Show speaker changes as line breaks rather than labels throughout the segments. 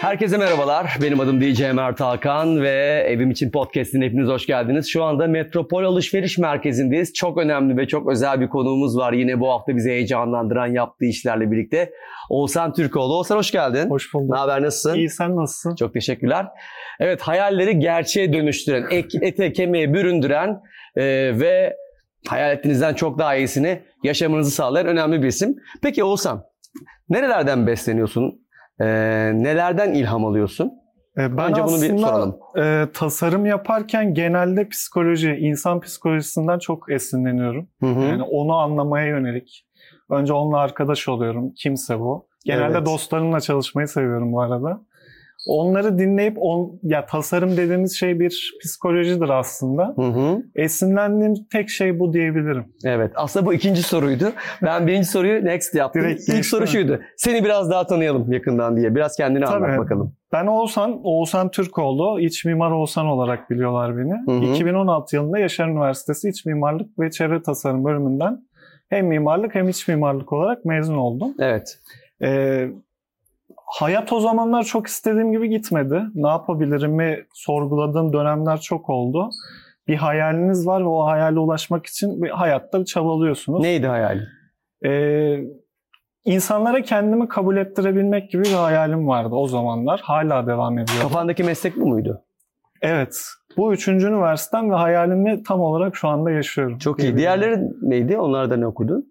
Herkese merhabalar. Benim adım DJ Mert Hakan ve Evim İçin Podcast'ine hepiniz hoş geldiniz. Şu anda Metropol Alışveriş Merkezi'ndeyiz. Çok önemli ve çok özel bir konuğumuz var. Yine bu hafta bizi heyecanlandıran yaptığı işlerle birlikte. Oğuzhan Türkoğlu. Oğuzhan hoş geldin.
Hoş
Ne Ee,
bulduk.
haber, nasılsın?
İyi sen nasılsın?
Çok teşekkürler. Evet hayalleri gerçeğe dönüştüren, ek, ete kemiğe büründüren e, ve hayal ettiğinizden çok daha iyisini yaşamanızı sağlayan önemli bir isim. Peki Oğuzhan nerelerden besleniyorsun? E, nelerden ilham alıyorsun?
Ee, Ben
Önce bunu bir
aslında,
soralım.
e, tasarım yaparken genelde psikoloji, insan psikolojisinden çok esinleniyorum.
Hı hı.
Yani onu anlamaya yönelik. Önce onunla arkadaş oluyorum. Kimse bu. Genelde
Evet.
dostlarımla çalışmayı seviyorum bu arada. Onları dinleyip on, ya tasarım dediğimiz şey bir psikolojidir aslında.
Hı hı.
Esinlendiğim tek şey bu diyebilirim.
Evet. Aslında bu ikinci soruydu. Ben birinci soruyu next yaptım.
Direkt
İlk
geçtim.
soru şuydu. Seni biraz daha tanıyalım yakından diye. Biraz kendini anlat
Tabii.
bakalım.
Ben Oğuzhan, Oğuzhan Türkoğlu, iç mimar Oğuzhan olarak biliyorlar beni.
Hı hı.
2016 yılında Yaşar Üniversitesi İç Mimarlık ve Çevre Tasarım bölümünden hem mimarlık hem iç mimarlık olarak mezun oldum.
Evet.
Ee, hayat o zamanlar çok istediğim gibi gitmedi. Ne yapabilirimi sorguladığım dönemler çok oldu. Bir hayaliniz var ve o hayale ulaşmak için bir hayatta çabalıyorsunuz.
Neydi hayal?
Ee, insanlara kendimi kabul ettirebilmek gibi bir hayalim vardı o zamanlar. Hala devam ediyor.
Kafandaki meslek bu muydu?
Evet. Bu üçüncü üniversitem ve hayalimi tam olarak şu anda yaşıyorum.
Çok iyi. Diğerleri neydi? Onlar da ne okudun?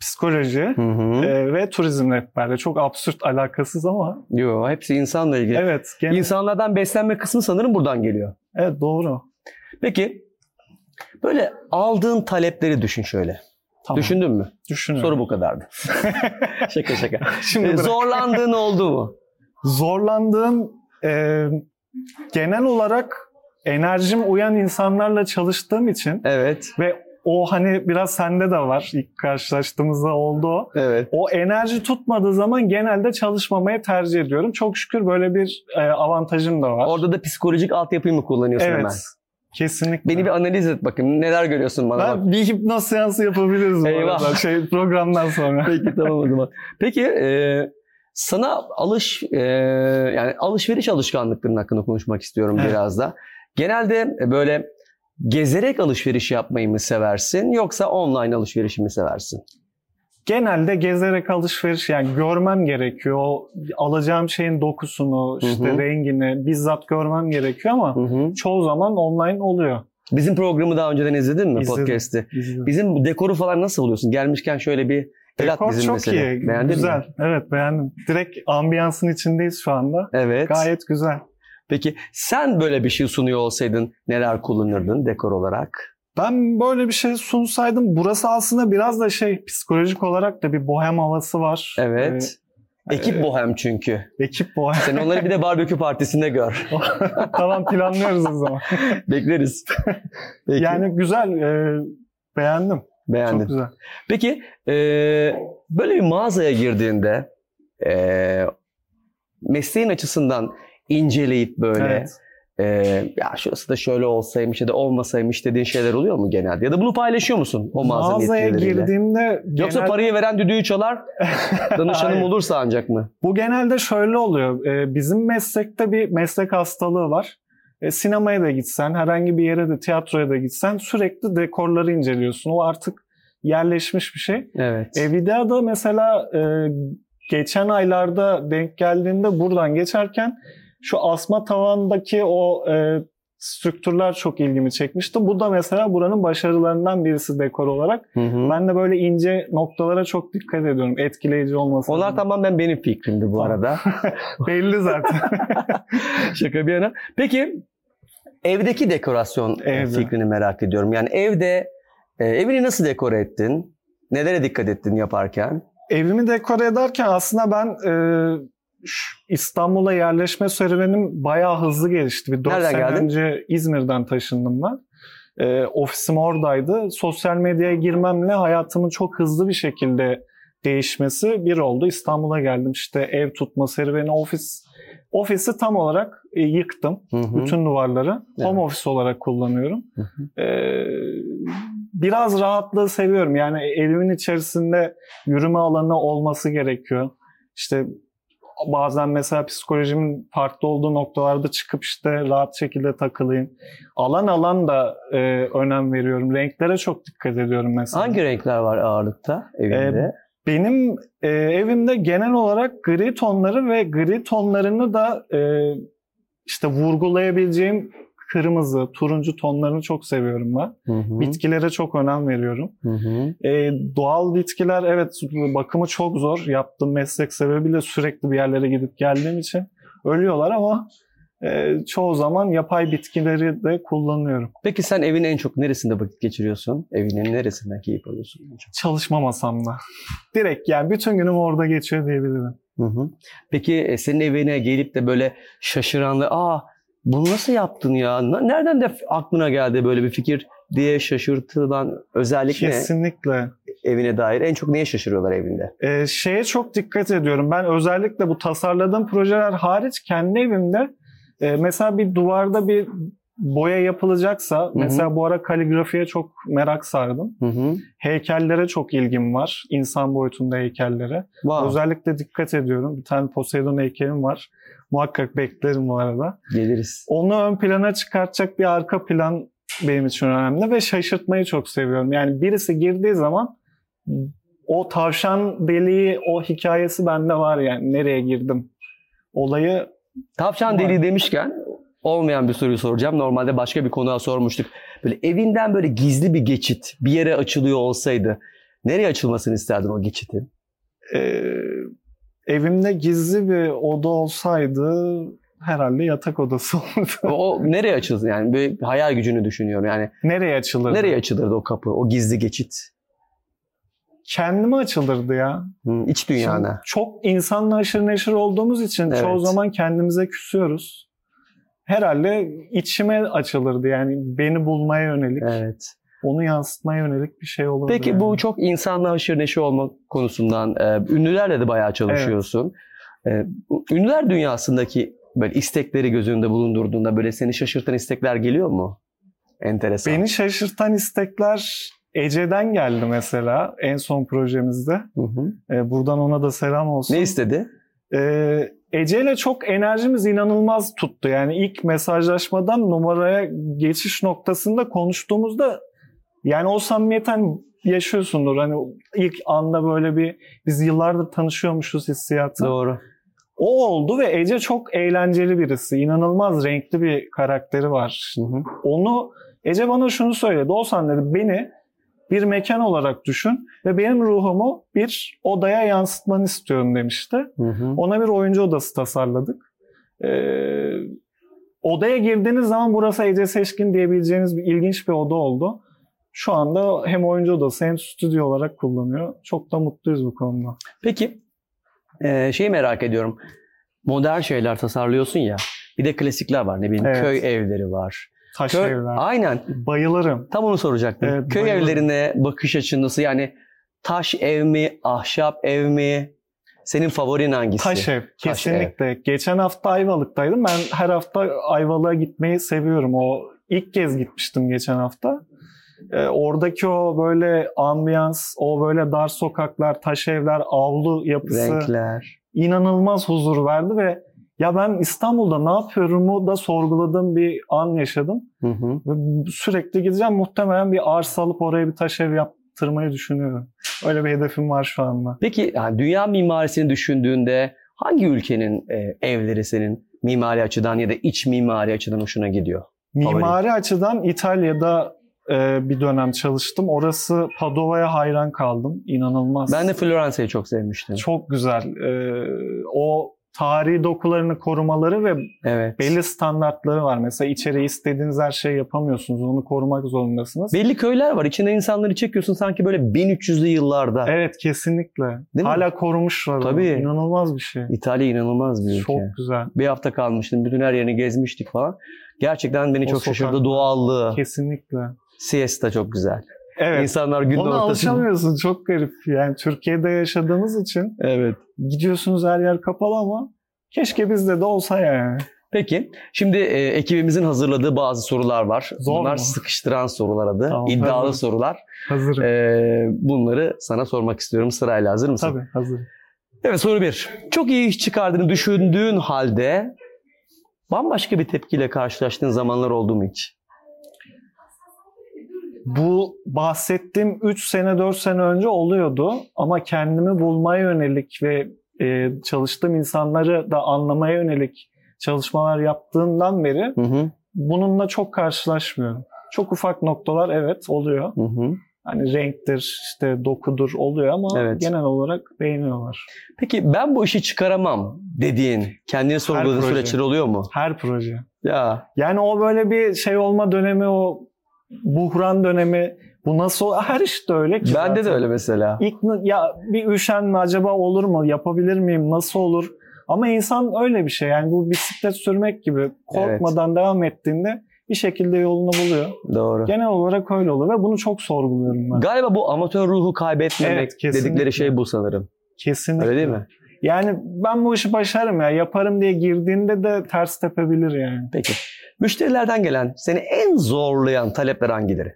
Psikoloji
Hı hı.
e, ve turizm rehberliği. Çok absürt alakasız ama
Yo, hepsi insanla ilgili.
evet. Gene,
İnsanlardan beslenme kısmı sanırım buradan geliyor.
evet doğru.
Peki böyle aldığın talepleri düşün şöyle.
Tamam.
Düşündün mü?
Düşünüyorum.
Soru bu kadardı. şaka şaka.
Şimdi
Ee,
bırak.
Zorlandığın oldu mu?
Zorlandığım e, genel olarak enerjim uyan insanlarla çalıştığım için
Evet.
ve o hani biraz sende de var ilk karşılaştığımızda oldu o.
Evet.
O enerji tutmadığı zaman genelde çalışmamayı tercih ediyorum. Çok şükür böyle bir e, avantajım da var.
Orada da psikolojik altyapıyı mı kullanıyorsun
Evet.
hemen?
Kesinlikle.
Beni bir analiz et bakayım. Neler görüyorsun bana? bak.
ben bir hipnoz seansı yapabiliriz bu
Eyvah.
arada. Şey, programdan sonra.
Peki tamam o zaman. Peki e, sana alış e, yani alışveriş alışkanlıklarının hakkında konuşmak istiyorum
Evet.
biraz da. Genelde e, böyle gezerek alışveriş yapmayı mı seversin yoksa online alışverişi mi seversin?
Genelde gezerek alışveriş yani görmem gerekiyor. O Alacağım şeyin dokusunu,
Hı hı.
işte rengini bizzat görmem gerekiyor ama çoğu zaman online oluyor.
Bizim programı daha önceden izledin mi
İzledim.
podcast'i?
İzledim.
Bizim bu dekoru falan nasıl buluyorsun? Gelmişken şöyle bir el at
Dekor
bizim
çok
mesela.
iyi.
Beğendin mi?
güzel. Evet beğendim. Direkt ambiyansın içindeyiz şu anda.
Evet.
Gayet güzel.
Peki sen böyle bir şey sunuyor olsaydın neler kullanırdın dekor olarak?
Ben böyle bir şey sunsaydım burası aslında biraz da şey psikolojik olarak da bir bohem havası var.
Evet. Ekip bohem çünkü.
Ee, ekip bohem.
Sen onları bir de barbekü partisinde gör.
tamam planlıyoruz o zaman.
Bekleriz. Peki,
Yani güzel. e, beğendim.
beğendim.
Çok güzel.
Peki e, böyle bir mağazaya girdiğinde e, mesleğin açısından inceleyip böyle
Evet.
e, ya şurası da şöyle olsaymış ya da olmasaymış dediğin şeyler oluyor mu genelde? Ya da bunu paylaşıyor musun o mağazanın
Mağazaya
yetkilileriyle?
girdiğimde
Yoksa
genel-
parayı veren düdüğü çalar, danışanım
Hayır.
olursa ancak mı?
bu genelde şöyle oluyor. E, bizim meslekte bir meslek hastalığı var. E, sinemaya da gitsen, herhangi bir yere de tiyatroya da gitsen sürekli dekorları inceliyorsun. O artık yerleşmiş bir şey.
Evet.
E, videoda mesela e, geçen aylarda denk geldiğinde buradan geçerken şu asma tavandaki o e, strüktürler çok ilgimi çekmişti. Bu da mesela buranın başarılarından birisi dekor olarak.
Hı hı.
Ben de böyle ince noktalara çok dikkat ediyorum. Etkileyici olması.
Onlar tamamen benim fikrimdi bu
Tamam.
arada.
belli zaten.
Şaka bir yana. Peki evdeki dekorasyon e,
Evde.
fikrini merak ediyorum. Yani evde e, evini nasıl dekore ettin? Nelere dikkat ettin yaparken?
Evimi dekore ederken aslında ben e, şu İstanbul'a yerleşme serüvenim bayağı hızlı gelişti. Bir 4
Nereden
sene
geldin?
önce İzmir'den taşındım ben. E, ofisim oradaydı. Sosyal medyaya girmemle hayatımın çok hızlı bir şekilde değişmesi bir oldu. İstanbul'a geldim işte ev tutma serüveni, ofis. Ofisi tam olarak e, yıktım.
Hı hı.
Bütün duvarları
Evet.
home office olarak kullanıyorum.
Hı
Ee, biraz rahatlığı seviyorum. Yani evimin içerisinde yürüme alanı olması gerekiyor. İşte bazen mesela psikolojimin farklı olduğu noktalarda çıkıp işte rahat şekilde takılayım. Alan alan da e, önem veriyorum. Renklere çok dikkat ediyorum mesela.
Hangi renkler var ağırlıkta evinde?
Benim e, evimde genel olarak gri tonları ve gri tonlarını da e, işte vurgulayabileceğim kırmızı, turuncu tonlarını çok seviyorum ben.
Hı hı,
Bitkilere çok önem veriyorum.
hı hı.
E, doğal bitkiler evet bakımı çok zor. Yaptığım meslek sebebiyle sürekli bir yerlere gidip geldiğim için ölüyorlar ama e, çoğu zaman yapay bitkileri de kullanıyorum.
Peki sen evin en çok neresinde vakit geçiriyorsun? Evinin neresinden keyif alıyorsun? en çok?
Çalışma masamda. Direkt yani bütün günüm orada geçiyor diyebilirim.
Hı hı. Peki e, senin evine gelip de böyle şaşıranlar, aa bunu nasıl yaptın ya? Na- Nereden de f- aklına geldi böyle bir fikir diye şaşırtılan özellik ne
Kesinlikle.
evine dair? En çok neye şaşırıyorlar evinde?
Ee, şeye çok dikkat ediyorum. Ben özellikle bu tasarladığım projeler hariç kendi evimde e, mesela bir duvarda bir boya yapılacaksa mesela bu ara kaligrafiye çok merak sardım.
Hı hı.
Heykellere çok ilgim var. İnsan boyutunda heykellere.
Wow,
Özellikle dikkat ediyorum. Bir tane Poseidon heykelim var. Muhakkak beklerim bu arada.
geliriz.
Onu ön plana çıkartacak bir arka plan benim için önemli ve şaşırtmayı çok seviyorum. Yani birisi girdiği zaman o tavşan deliği, o hikayesi bende var yani. Nereye girdim? Olayı
Tavşan deliği demişken olmayan bir soruyu soracağım. Normalde başka bir konuğa sormuştuk. Böyle evinden böyle gizli bir geçit bir yere açılıyor olsaydı nereye açılmasını isterdin o geçitin?
e, evimde gizli bir oda olsaydı herhalde yatak odası
O,
olurdu.
o nereye açılsın yani böyle hayal gücünü düşünüyorum yani.
nereye açılırdı?
Nereye açılırdı o kapı, o gizli geçit?
Kendime açılırdı ya.
Hı, iç
Şimdi
dünyana.
çok insanla aşırı neşir olduğumuz için çoğu
Evet.
zaman kendimize küsüyoruz. Herhalde içime açılırdı yani beni bulmaya yönelik,
Evet.
onu yansıtmaya yönelik bir şey olurdu.
Peki
yani.
bu çok insanla haşır neşe olma konusundan e, ünlülerle de bayağı çalışıyorsun. E, bu ünlüler dünyasındaki böyle istekleri göz önünde bulundurduğunda böyle seni şaşırtan istekler geliyor mu? Enteresan.
beni şaşırtan istekler Ece'den geldi mesela en son projemizde.
Hı hı.
Ee, buradan ona da selam olsun.
Ne istedi?
Ee, Ece'yle çok enerjimiz inanılmaz tuttu. Yani ilk mesajlaşmadan numaraya geçiş noktasında konuştuğumuzda yani o samimiyeten yaşıyorsundur. Hani ilk anda böyle bir biz yıllardır tanışıyormuşuz hissiyatı.
Doğru.
O oldu ve Ece çok eğlenceli birisi. İnanılmaz renkli bir karakteri var.
Hı hı.
Onu Ece bana şunu söyledi. Oğuzhan dedi beni bir mekan olarak düşün ve benim ruhumu bir odaya yansıtmanı istiyorum demişti.
Hı hı.
Ona bir oyuncu odası tasarladık. Ee, odaya girdiğiniz zaman burası Ece Seçkin diyebileceğiniz bir ilginç bir oda oldu. Şu anda hem oyuncu odası hem stüdyo olarak kullanıyor. Çok da mutluyuz bu konuda.
Peki e, şeyi merak ediyorum. Modern şeyler tasarlıyorsun ya. Bir de klasikler var ne bileyim
Evet.
köy evleri var.
Taş
Köy,
evler.
aynen.
Bayılırım.
Tam onu soracaktım.
Evet,
Köy
bayılıyorum.
evlerine bakış açın nasıl? Yani taş ev mi, ahşap ev mi? Senin favorin hangisi?
Taş ev. Kesinlikle. Geçen hafta Ayvalık'taydım. Ben her hafta Ayvalık'a gitmeyi seviyorum. O ilk kez gitmiştim geçen hafta. Ee, oradaki o böyle ambiyans, o böyle dar sokaklar, taş evler, avlu yapısı.
Renkler.
inanılmaz huzur verdi ve ya ben İstanbul'da ne yapıyorumu da sorguladığım bir an yaşadım.
Hı hı.
Ve sürekli gideceğim muhtemelen bir arsa alıp oraya bir taş ev yaptırmayı düşünüyorum. Öyle bir hedefim var şu anda.
Peki yani dünya mimarisini düşündüğünde hangi ülkenin e, evleri senin mimari açıdan ya da iç mimari açıdan hoşuna gidiyor?
Mimari açıdan İtalya'da e, bir dönem çalıştım. Orası Padova'ya hayran kaldım. İnanılmaz.
Ben de Floransa'yı çok sevmiştim.
çok güzel. E, o tarihi dokularını korumaları ve
Evet. Belli,
belli standartları var. Mesela içeri istediğiniz her şeyi yapamıyorsunuz. Onu korumak zorundasınız.
köyler var. İçinde insanları çekiyorsun sanki böyle 1300'lü yıllarda.
Evet kesinlikle.
Değil mi?
Hala korumuşlar. onu.
Tabii.
İnanılmaz bir şey.
İtalya inanılmaz bir ülke.
Çok güzel.
Bir hafta kalmıştım. Bütün her yerini gezmiştik falan. Gerçekten beni
O
çok şaşırdı.
sokaklar.
Doğallığı.
Kesinlikle.
Siesta çok güzel.
Evet.
İnsanlar günün
Ona
ortasında.
alışamıyorsun. Çok garip. Yani Türkiye'de yaşadığınız için
Evet.
gidiyorsunuz her yer kapalı ama keşke bizde de olsa yani.
Peki. Şimdi e, ekibimizin hazırladığı bazı sorular var.
Zor
Bunlar
mu?
sıkıştıran sorular adı.
Tamam,
İddialı
hazırım.
sorular.
Hazırım.
E, bunları sana sormak istiyorum sırayla. Hazır mısın?
Tabii hazırım.
Evet soru bir. Çok iyi iş çıkardığını düşündüğün halde bambaşka bir tepkiyle karşılaştığın zamanlar oldu mu hiç?
Bu bahsettiğim 3 sene 4 sene önce oluyordu ama kendimi bulmaya yönelik ve e, çalıştığım insanları da anlamaya yönelik çalışmalar yaptığımdan beri
Hı hı.
bununla çok karşılaşmıyorum. Çok ufak noktalar evet oluyor.
hı hı.
Hani renktir, işte dokudur oluyor ama
Evet.
genel olarak beğeniyorlar.
Peki ben bu işi çıkaramam dediğin, kendini sorguladığın
proje.
süreçler oluyor mu?
Her proje.
Ya
Yani o böyle bir şey olma dönemi, o buhran dönemi, bu nasıl her işte öyle ki.
bende de
zaten.
öyle mesela.
İlk n- ya bir üşenme acaba olur mu? Yapabilir miyim? Nasıl olur? Ama insan öyle bir şey. Yani bu bisiklet sürmek gibi korkmadan devam ettiğinde bir şekilde yolunu buluyor.
Doğru.
Genel olarak öyle oluyor ve bunu çok sorguluyorum ben.
Galiba bu amatör ruhu kaybetmemek
Evet, kesinlikle.
dedikleri şey bu sanırım.
Kesinlikle.
Öyle değil mi?
Yani ben bu işi başarırım ya. Yaparım diye girdiğinde de ters tepebilir yani.
Peki. Müşterilerden gelen seni en zorlayan talepler hangileri?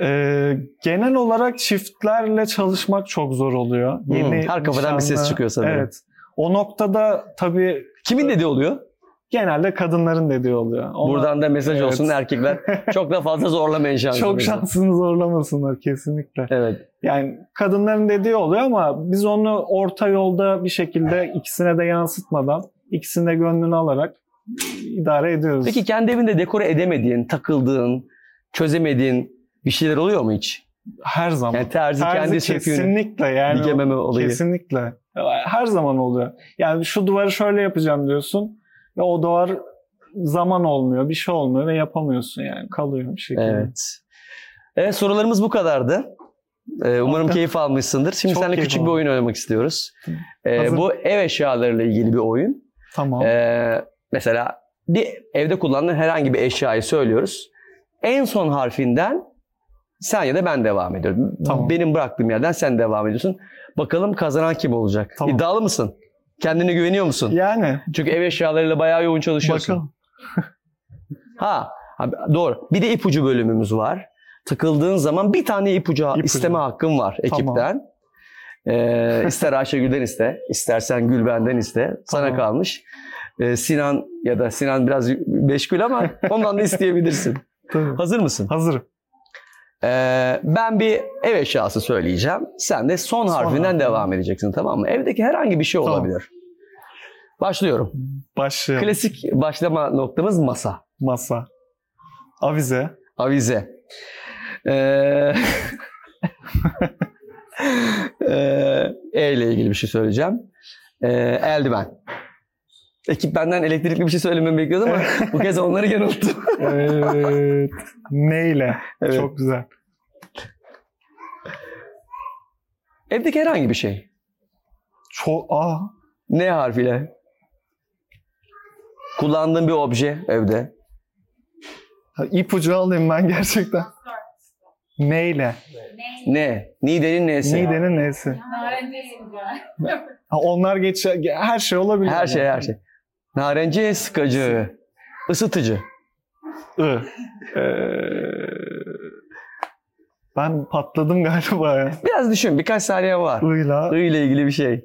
Ee, genel olarak çiftlerle çalışmak çok zor oluyor.
Hmm, her kafadan bir ses
nişanlı-
çıkıyor sanırım.
Evet. O noktada tabii
Kimin dediği oluyor?
genelde kadınların dediği oluyor. Ona-
Buradan da mesaj
Evet.
olsun erkekler. Çok da fazla zorlamayın şansınızı.
Çok şansını zorlamasınlar kesinlikle.
Evet.
Yani kadınların dediği oluyor ama biz onu orta yolda bir şekilde ikisine de yansıtmadan, ikisinin de gönlünü alarak idare ediyoruz.
Peki kendi evinde dekore edemediğin, takıldığın, çözemediğin bir şeyler oluyor mu hiç?
her zaman.
Yani terzi,
Terzi
kendi söküğünü
kesinlikle yani o-
dikememe olayı.
kesinlikle. Her zaman oluyor. Yani şu duvarı şöyle yapacağım diyorsun ve o duvar zaman olmuyor, bir şey olmuyor ve yapamıyorsun yani kalıyor bir şekilde.
Evet. Evet sorularımız bu kadardı. Ee, umarım
Harika.
keyif almışsındır. Şimdi
Çok
seninle
keyif
küçük bir
aldım.
oyun oynamak istiyoruz. Ee,
Hazır.
bu ev eşyalarıyla ilgili bir oyun.
Tamam.
Ee, mesela bir evde kullanılan herhangi bir eşyayı söylüyoruz. En son harfinden sen ya da ben devam ediyorum.
Tamam.
Benim bıraktığım yerden sen devam ediyorsun. Bakalım kazanan kim olacak?
Tamam.
İddialı mısın? Kendine güveniyor musun?
yani
Çünkü ev eşyalarıyla bayağı yoğun çalışıyorsun.
bakalım.
Ha, ha, doğru. Bir de ipucu bölümümüz var. Takıldığın zaman bir tane ipucu,
İpucu.
isteme hakkın var ekipten. Ee, ister Ayşegül'den iste, istersen Gülben'den iste. Sana
Tamam.
kalmış. Ee, Sinan ya da Sinan biraz meşgul ama ondan da isteyebilirsin.
Tabii.
Hazır mısın?
Hazırım.
Ee, ben bir ev eşyası söyleyeceğim. Sen de son,
Son
harfinden
harfi.
devam edeceksin tamam mı? Evdeki herhangi bir şey
Tamam.
olabilir. Başlıyorum.
Başlayalım.
Klasik başlama noktamız masa.
Masa. Avize.
Avize. Ee, ee, e ile ilgili bir şey söyleyeceğim. Ee, eldiven. Ekip benden elektrikli bir şey söylememi bekliyordu ama bu kez onları yanılttım.
Evet. Neyle?
Evet.
Çok güzel.
Evdeki herhangi bir şey.
Çok aa
Ne harfiyle? Kullandığın bir obje evde.
ha, ipucu alayım ben gerçekten. Neyle?
Ne? Nidenin nesi?
Nidenin nesi?
Narencisin ya.
Ha, onlar geç her şey olabilir.
Her şey her şey. Narenci sıkıcı. Isıtıcı.
I. Ee, ben patladım galiba ya.
Biraz düşün birkaç saniye var.
I'la
I ile ilgili bir şey.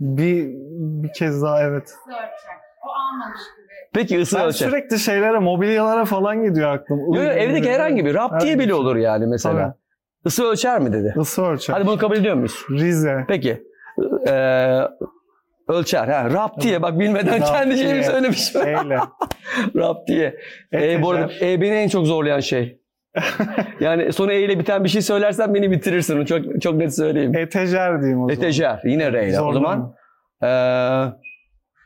bir bir kez daha evet.
O almamış gibi.
Peki ısı
Ben
ölçer.
sürekli şeylere, mobilyalara falan gidiyor aklım. I,
Yok yok evdeki
I,
herhangi bir rap diye
Herhangi
bile
bir
olur yani mesela.
şey. Tabii.
Isı ölçer mi dedi.
Isı ölçer.
Hadi bunu kabul ediyor muyuz?
Rize.
Peki. Ee, ölçer. Ha, rap diye bak bilmeden
Rap
kendi
diye.
şeyimi söylemiş.
Eyle.
rap diye. E, bu arada e, beni en çok zorlayan şey. yani sonu E ile biten bir şey söylersen beni bitirirsin. Onu Çok çok net söyleyeyim.
Etejer diyeyim E, o zaman.
Etejer. Yine R ile. O
Zorlama.
zaman ee,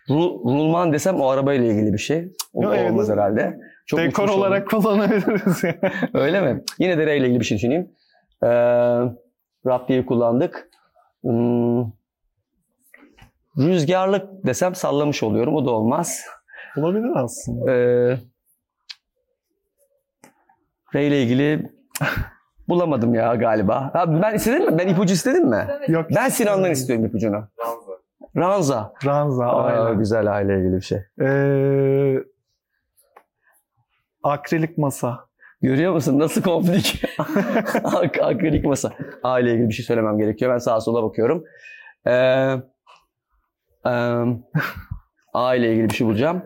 ru- rulman desem o arabayla ilgili bir şey. Cık, O,
Yok,
o
evet.
olmaz herhalde. Çok
dekor
uçmuş oldum.
olarak kullanabiliriz. yani.
Öyle mi? Yine de R ile ilgili bir şey düşüneyim. Ee, Rab diye kullandık. Hmm, rüzgarlık desem sallamış oluyorum. O da olmaz.
Olabilir aslında.
Ee, R ile ilgili bulamadım ya galiba. Ha, ben istedim mi? Ben ipucu istedim mi?
Yok.
Ben Sinan'dan istiyorum ipucunu. Ranza.
Ranza.
Aa,
aynen.
güzel aile ilgili bir şey.
Ee, akrilik masa.
Görüyor musun? Nasıl konflik? Ak- Akrilik masa. Aile ilgili bir şey söylemem gerekiyor. Ben sağa sola bakıyorum. Ee, em, aile ilgili bir şey bulacağım.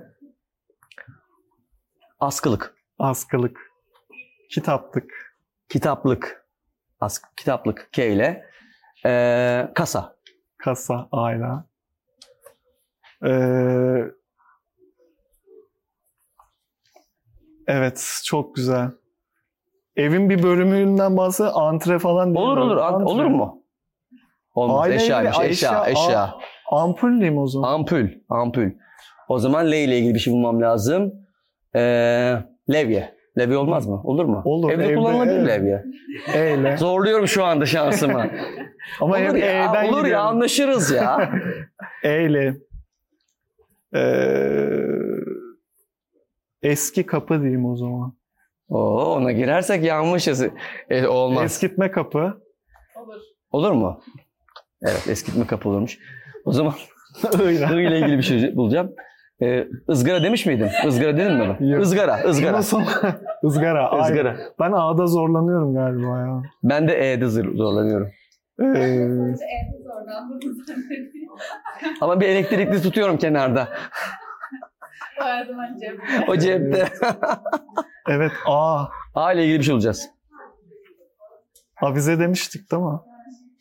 Askılık.
Askılık, kitaplık,
Kitaplık. Ask, kitaplık. K ile. Ee, kasa.
kasa, ayna. Ee, evet, çok güzel. Evin bir bölümünden bahsediyor. Antre falan değil
Olur
mi?
olur. An-
Antre.
olur mu? Olmaz.
Aile
eşyaymış.
ile-
Eşya,
eşya,
eşya.
a- Ampul diyeyim o zaman.
Ampul. Ampul. O zaman L ile ilgili bir şey bulmam lazım. Ee, levye. Levye olmaz mı? Olur mu?
Olur,
Evde,
evde,
kullanılabilir
evet.
levye.
Eyle.
Zorluyorum şu anda şansımı. olur
Ama hep
ya,
E'den
olur ya
gidiyorum.
anlaşırız ya.
Eyle. Ee, eski kapı diyeyim o zaman.
Oo, ona girersek yanmışız. E, olmaz.
Eskitme kapı.
Olur.
Olur mu? Evet eskitme kapı olurmuş. O zaman
Öyle.
ı ile ilgili bir şey bulacağım. Ee, ızgara demiş miydim? Izgara dedim mi ben?
Yok.
Izgara, ızgara.
Nasıl? Izgara. ay.
Izgara.
Ben A'da zorlanıyorum galiba ya.
Ben de E'de zor- zorlanıyorum.
Ee,
Sadece evde zorlandım.
Ama bir elektrikli tutuyorum kenarda.
Her zaman cebimde.
O cepte.
evet A.
A ile ilgili bir şey olacağız.
Avize demiştik değil mi?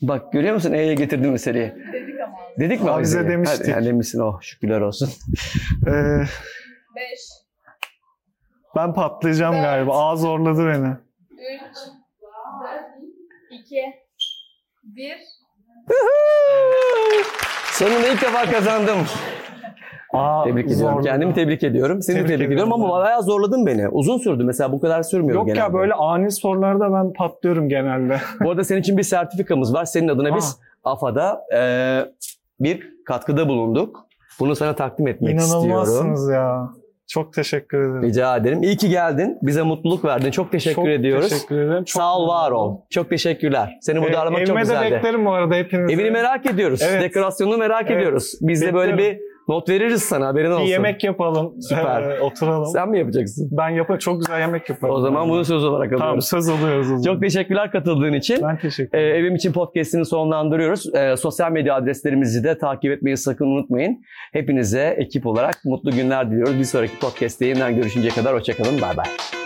Bak görüyor musun E'ye getirdim meseleyi.
Dedik ama.
Dedik mi?
Aa, bize
avizeyi?
demiştik.
Ha, yani demişsin oh şükürler olsun.
Ee,
Beş,
ben patlayacağım
Evet.
galiba. A zorladı beni.
üç, dört, iki, bir.
Sonunda ilk defa kazandım.
A
Tebrik ediyorum.
zorladı.
Kendimi tebrik ediyorum. Seni
Ah, Tebrik
tebrik, ediyorum
ediyorum.
ama bayağı zorladın beni. Uzun sürdü mesela bu kadar sürmüyor
Yok
genelde.
ya böyle ani sorularda ben patlıyorum genelde.
Bu arada senin için bir sertifikamız var. Senin adına
Aa.
biz
Ah.
AFA'da e, bir katkıda bulunduk. Bunu sana takdim etmek istiyorum.
İnanılmazsınız ya. Çok teşekkür ederim.
Rica ederim. İyi ki geldin. Bize mutluluk verdin. Çok teşekkür
Çok
ediyoruz.
Teşekkür ederim. Çok
Sağ ol, var
memnun
ol.
oldum.
Çok teşekkürler. Seni burada
Ee,
aramak çok
evime de
güzeldi.
beklerim bu arada hepinizi.
Evini merak ediyoruz.
Evet.
Dekorasyonunu merak
Evet,
ediyoruz. Biz de böyle bir
bekliyorum.
not veririz sana haberin
Bir
olsun.
yemek yapalım.
Süper.
Ee, oturalım.
Sen mi yapacaksın?
Ben yaparım. Çok güzel yemek yaparım.
O zaman bunu söz olarak
Tamam
alıyoruz.
söz alıyoruz. o zaman.
Çok teşekkürler katıldığın için.
Ben teşekkür
Ee,
ederim.
evim için podcast'ini sonlandırıyoruz. Ee, sosyal medya adreslerimizi de takip etmeyi sakın unutmayın. Hepinize ekip olarak mutlu günler diliyoruz. Bir sonraki podcast'te yeniden görüşünceye kadar hoşçakalın. Bay bay.